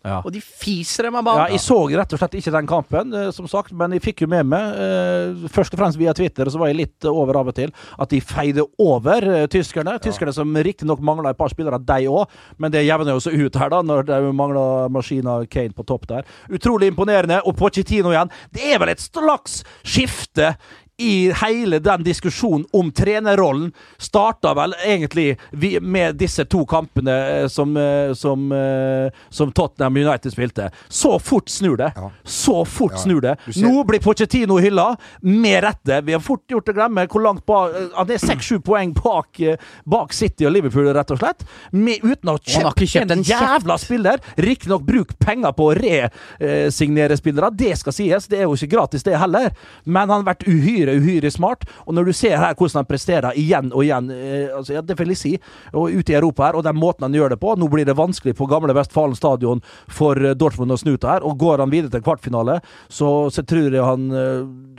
Ja.
og de fiser dem av
Ja,
banen.
jeg så rett og slett ikke den kampen, eh, som sagt, men jeg fikk jo med meg, eh, først og fremst via Twitter, og så var jeg litt eh, over av og til, at de feide over eh, tyskerne. Tyskerne som riktignok mangla et par spillere, de òg, men det jevner jo seg ut her, da, når de mangla Maskina og Kane på topp der. Utrolig imponerende. Og Pochettino igjen. Det er vel et slags skifte i hele den diskusjonen om trenerrollen starta vel egentlig vi, med disse to kampene eh, som, eh, som, eh, som Tottenham United spilte. Så fort snur det.
Ja.
Så fort
Ja.
snur det.
Du ser-
Nå blir Pochettino hylla, med rette. Vi har fort gjort å glemme hvor langt bak eh, Han er seks-sju poeng bak, eh, bak City og Liverpool, rett og slett. Med, uten å ha
Han har
kjøpt,
ikke kjøpt
en
en kjeft.
jævla spiller. Riktignok bruk penger på å resignere spillere, det skal sies. Det er jo ikke gratis, det heller. Men han har vært uhyre, uhyre smart. Og når du ser her hvordan han presterer igjen og igjen, eh, altså, ja, det vil jeg si, og ute i Europa her, og den måten han gjør det på Nå blir det vanskelig på gamle Vestfalen stadion for eh, Dortmund å snu det her. Og går han videre til kvartfinale, så, så tror jeg han eh,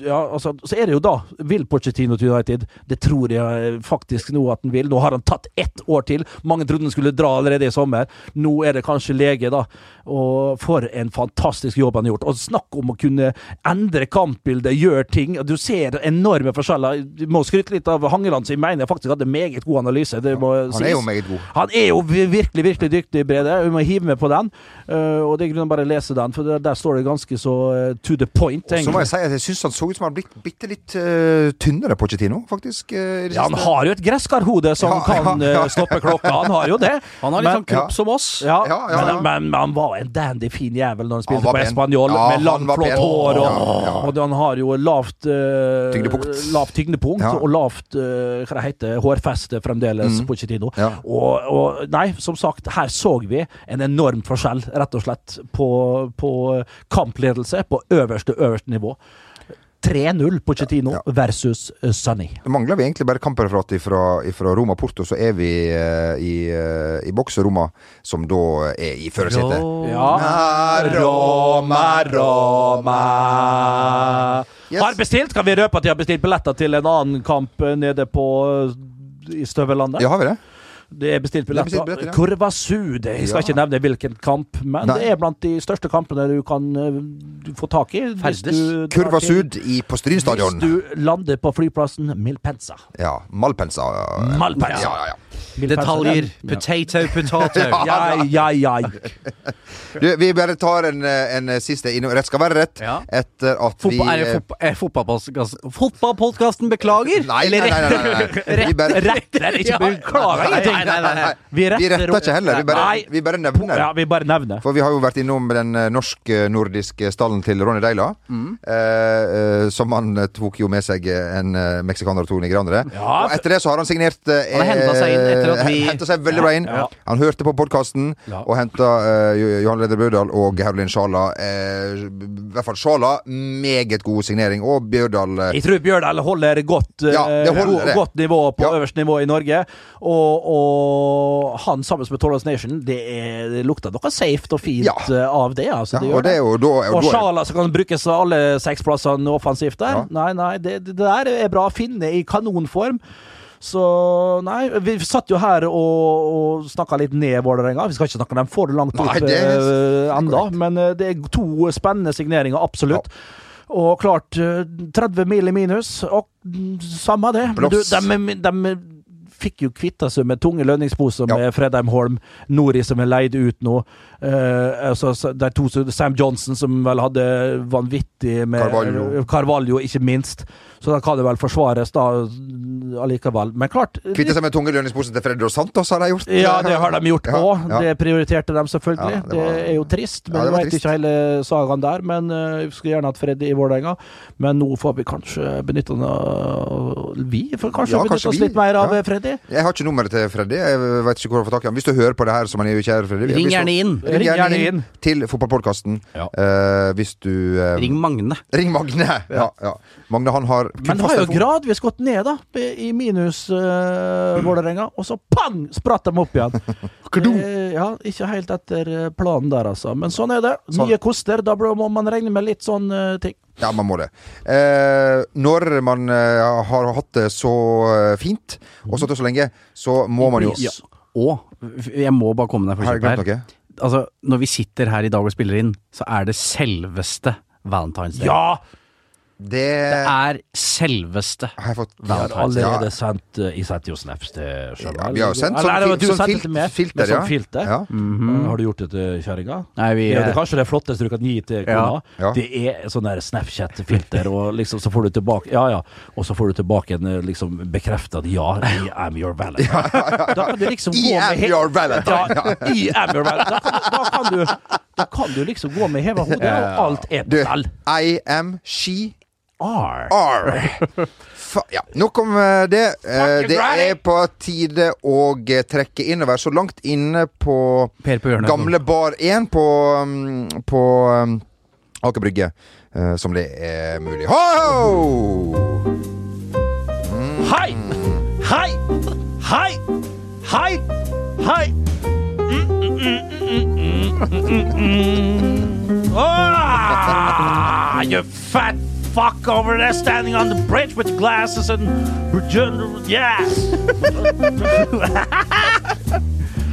Ja, altså, så er det jo da. Vil Pochettino til United? Det tror jeg eh, faktisk nå at han vil. Nå har han tatt ett år til. Mange trodde han skulle dra allerede i sommer. Nå er det kanskje lege, da. Og for en fantastisk jobb han har gjort. Og snakk om å kunne endre kampbildet, gjøre ting. Du ser enorme forskjeller. Du må skryte litt av Hangeland, som jeg mener faktisk hadde meget god analyse. Det må
Han
sies.
er jo meget god.
Han er jo vi- virkelig, virkelig dyktig, Brede. Vi må hive med på den. Eh, og det er grunn til å bare lese den, for der, der står det ganske så eh, to the point.
Så
egentlig.
må jeg si at jeg syns han så ut som han har blitt bitte litt eh, tynnere, Pochettino, faktisk. eh, i det
Ja, han
siste.
har jo et gresskarhode som
Ja,
kan
ja, ja.
eh, stoppe klokka. Han har jo det.
Han har litt
Men-
sånn kropp
Ja.
som oss.
Ja,
Ja, ja, ja.
Men, men, men han var en dandy fin jævel når han spilte
var
på
pen.
Espanjol,
Ja,
med
han
langt,
var
flott
pen.
hår, og,
Ja, ja.
og han har jo lavt eh,
Tyngdepunkt.
Lavt tyngdepunkt
Ja. Mm.
og lavt eh, hva det heter, hårfeste fremdeles, Pochettino.
Ja.
Og, og nei, som sagt, her så vi en enorm forskjell, rett og slett, på, på kampledelse på øverste, øverste nivå. 3-0 Pochettino versus eh, Sunny.
Mangler vi egentlig bare kampreferat fra Roma Porto, så er vi eh, i, eh, i boks. og Roma, som da eh, er i førersetet.
Ja.
Roma, Roma. Yes.
Har bestilt, Kan vi røpe at de har bestilt billetter til en annen kamp eh, nede på eh, i Støvelandet?
Ja, har vi det?
Det er bestilt
er
billetter.
bestilt billetter, ja.
Kurva Sud. Jeg skal
Ja.
ikke nevne hvilken kamp, men
Nei.
det er blant de største kampene du kan eh, du få tak i. hvis
Ferdes.
du drar
Kurva
til-
Sud i, på Stryn
Hvis
stadion.
du lander på flyplassen Milpensa.
Ja, Malpensa. eh,
Malpensa.
Ja, ja, ja.
Milpensa.
Detaljer. Potato, [laughs] potato.
Ja, ja,
[laughs]
ja.
Du, vi bare tar en, eh, en siste innom. Rett skal være rett.
Ja.
Etter at
Fotball, er
vi
det
eh,
fotba- er fotballpodkasten Fotballpodkasten beklager!
Nei, nei,
Eller
nei. nei, nei,
[laughs]
nei. Vi bare,
Retter ikke beklager
Nei,
ingenting.
nei, nei, nei, nei.
Vi
vi
retter,
retter ikke heller. Vi bare,
Nei.
vi bare nevner.
Ja, vi bare nevner.
For vi har jo vært innom den eh, norsk-nordiske stallen til Ronny Deila. Eh, eh, som han eh, tok jo med seg eh, en eh, meksikaner og to nigerianere.
Ja,
og etter det så har han signert eh,
Han har hentet seg inn etter at
eh,
vi-
[laughs] hentet seg veldig bra inn.
Ja, ja.
Han hørte på podkasten
Ja.
og henta Johan Leder Bjørdal og Gerolin Sjala. eh, I hvert fall Sjala. Meget god signering. Og Bjørdal eh,
Jeg tror Bjørdal holder godt,
Ja, det
eh,
holder
go-
det.
godt nivå på
Ja.
øverste nivå i Norge. Og, og han sammen med Torlands Nation, det, er, det lukter noe safe og fint
Ja.
eh, av det. Altså,
ja,
det gjør
og det er jo da og
Og
da er-
Sjala som kan brukes av alle seks plassene offensivt der.
Ja.
Nei, nei, det, det der er bra. Finne i kanonform. Så nei, vi satt jo her og, og snakka litt ned Vålerenga. Vi skal ikke snakke dem for langt
Nei,
opp
det er
eh, enda, men eh, det er to spennende signeringer, absolutt. Og klart, eh, 30 mil i minus, og mm, samme det. Men Du,
Blås.
dem- dem fikk jo kvitta seg med tunge lønningsposer
Ja.
med Fredheim Holm, Nori som er leid ut nå. Eh, altså, så- de to, som- Sam Johnson som vel hadde vanvittig med
Carvalho.
Carvalho, ikke minst. Så da kan det vel forsvares da allikevel. Men klart
Kvitte seg med tunge lønningsposen til Fredro Santos, har de gjort.
ja, det har de gjort
Ja,
òg.
ja.
Det prioriterte de selvfølgelig.
Ja,
det,
det var-
er jo trist.
Ja,
Men
det
Jeg
var
vet
trist.
ikke hele sagaen der. Men eh, vi skulle gjerne hatt Freddy i Vålerenga. Men nå får vi kanskje benytte oss Vi får kanskje
Ja, kanskje
benytte oss
vi.
litt mer av
Ja.
eh, Freddy.
Jeg har ikke nummeret til Freddy. Jeg vet ikke hvor jeg får tak i han. Hvis du hører på det her, som han er jo kjære Freddy
Ring
hvis du-
gjerne inn.
Ring gjerne inn.
til fotballpodkasten.
Ja.
Eh, hvis du eh,
Ring Magne.
ring
[laughs]
Magne! Ja, ja. Magne, han har kun
Men det
fast
har jo
telefon.
gradvis gått ned, da, i minus eh, Vålerenga. Og så pang! Spratt de opp
[laughs]
igjen. Eh, ja, ikke helt etter eh, planen der, altså. Men sånn er det.
Sånn.
Nye koster. Da bør- må man regne med litt sånn eh, ting.
Ja, man må det. Eh, når man eh, har hatt det så eh, fint, og stått det så lenge, så må man jo
Ja. Og jeg må bare komme deg for
Har jeg
kjapt
glemt
her.
noe?
Altså, når vi sitter her i dag og spiller inn, så er det selveste Valentine's Day.
Ja!
Det
er selveste
har jeg fått
Vi har allerede
Ja,
sendt eh, Jeg sendte jo snaps til Sjøvald.
Ja, vi har jo sendt sånn fil- sånn fil- filter,
med sånn
ja.
filter.
Ja. Mm.
Mhm. Har du gjort det til kjerringa?
Nei, vi
Ja, det er
er
kanskje det flotteste du kan gi til kona.
Ja. Ja.
Det er sånn der Snapchat-filter, og liksom så får du tilbake Ja, ja. Og så får du tilbake en eh, liksom bekrefta at ja, I am your valentine. Da kan du liksom gå
I
med
am
he-
your valentine.
Ja, I am your valentine. Da kan, da kan du Da kan du liksom gå med heva hode, og alt er
Du,
tall.
I am she
R.
are. Fa ja. Nok om eh, det. Eh, Det er på tide å eh, trekke innover. Så langt inne på
Per på hjørnet.
Gamle Bar 1 på, mm, på mm, Aker Brygge eh, som det er mulig. Ho!
Hei! Hei! Hei! Hei! Hei! Mm, mm, mm, mm, mm, mm, mm, mm. Ah, you fat fuck over there standing on the bridge with glasses and yes.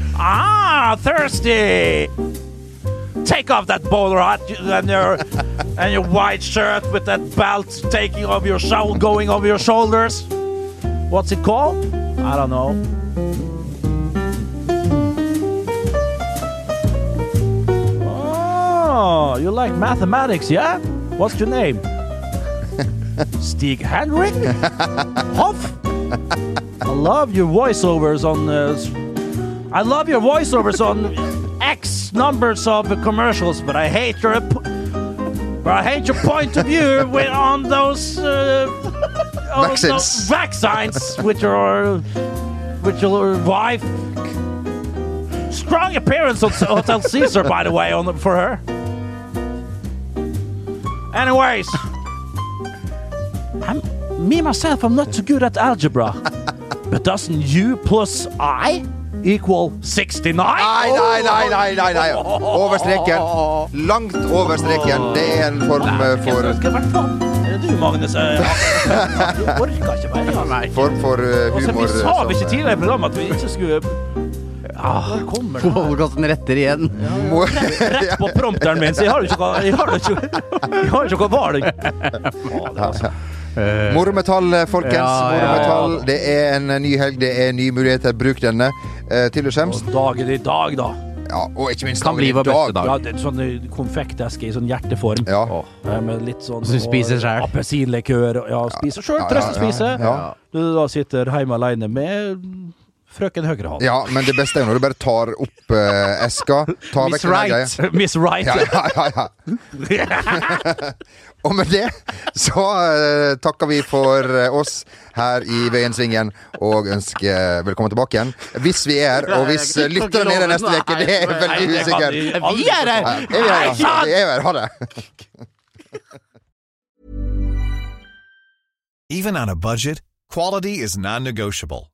[laughs] ah, thirsty. Take off that bowler hat and your and your white shirt with that belt taking off your show going over your shoulders. What's it called? I don't know. Oh, you like mathematics, yeah? What's your name? Stig Henrik? Hoff? I love your voiceovers on. Uh, s- I love your voiceovers on X numbers of commercials, but I hate your. ap- But I hate your point of view with, on those. Uh, on those
Vaccines.
vaccines with your with your wife. Strong appearance on Hotel Caesar, by the way, on the, for her. Anyways, I'm, me myself, I'm not so good at algebra, but doesn't u plus i equal sixty-nine?
Nei, nei, nei, nei, nei, nei. Over streken. Langt over streken. Det er en
Oh.
form eh, for
Skal det vært sånn? Er det du, Magnus? Uh, Eh, Jeg orker ikke mer. Ja, nei.
Form for eh,
Og så, Altså,
humor.
vi sa
som,
vi ikke
eh,
tidligere i programmet at vi ikke skulle ah, Der kommer
[laughs]
det.
Podkasten eh, retter igjen.
må- [laughs]
Rett på prompteren min, så jeg har jo ikke Jeg har jo ikke, jeg har jo ikke bevaring. Å, det var så-
Morometall, eh, folkens.
Ja, ja, ja.
Morometall. Det er en eh, ny helg, det er nye muligheter. Bruk denne eh, til du skjems.
Og Dagen i dag, da.
Ja, og ikke minst
Kan
dagen i
bli vår beste dag.
Ja, det er sånn eh, konfekteske i sånn hjerteform.
Ja.
Eh, Med litt sånn
Som du
og
spiser selv.
Appelsinlikør. og- Ja, spiser sjøl.
Ja, ja,
Trøstespise.
ja, ja.
Du da sitter hjemme aleine med frøken Høyrehånd.
Ja, men det beste er jo når du bare tar opp eh, eska. Tar
[laughs] Miss
vekk den greia.
Right.
Miss Right.
Ja, ja, ja,
[laughs]
ja. Og med det så eh, takker vi for eh, oss her i Veiensvingen og ønsker velkommen tilbake igjen. Hvis vi er her, og hvis eh, lytterne er her neste uke, det er veldig usikkert.
Vi er her!
Ja, er vi her, da? Vi er jo her. Ha det.
Even on a budget, quality is non-negotiable.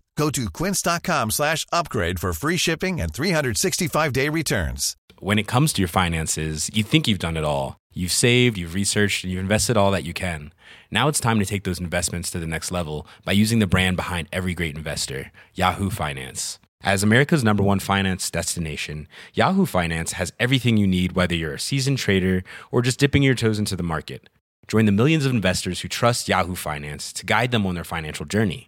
Go to quince.com slash upgrade for free shipping and 365-day returns.
When it comes to your finances, you think you've done it all. You've saved, you've researched, and you've invested all that you can. Now it's time to take those investments to the next level by using the brand behind every great investor, Yahoo Finance. As America's number one finance destination, Yahoo Finance has everything you need, whether you're a seasoned trader or just dipping your toes into the market. Join the millions of investors who trust Yahoo Finance to guide them on their financial journey.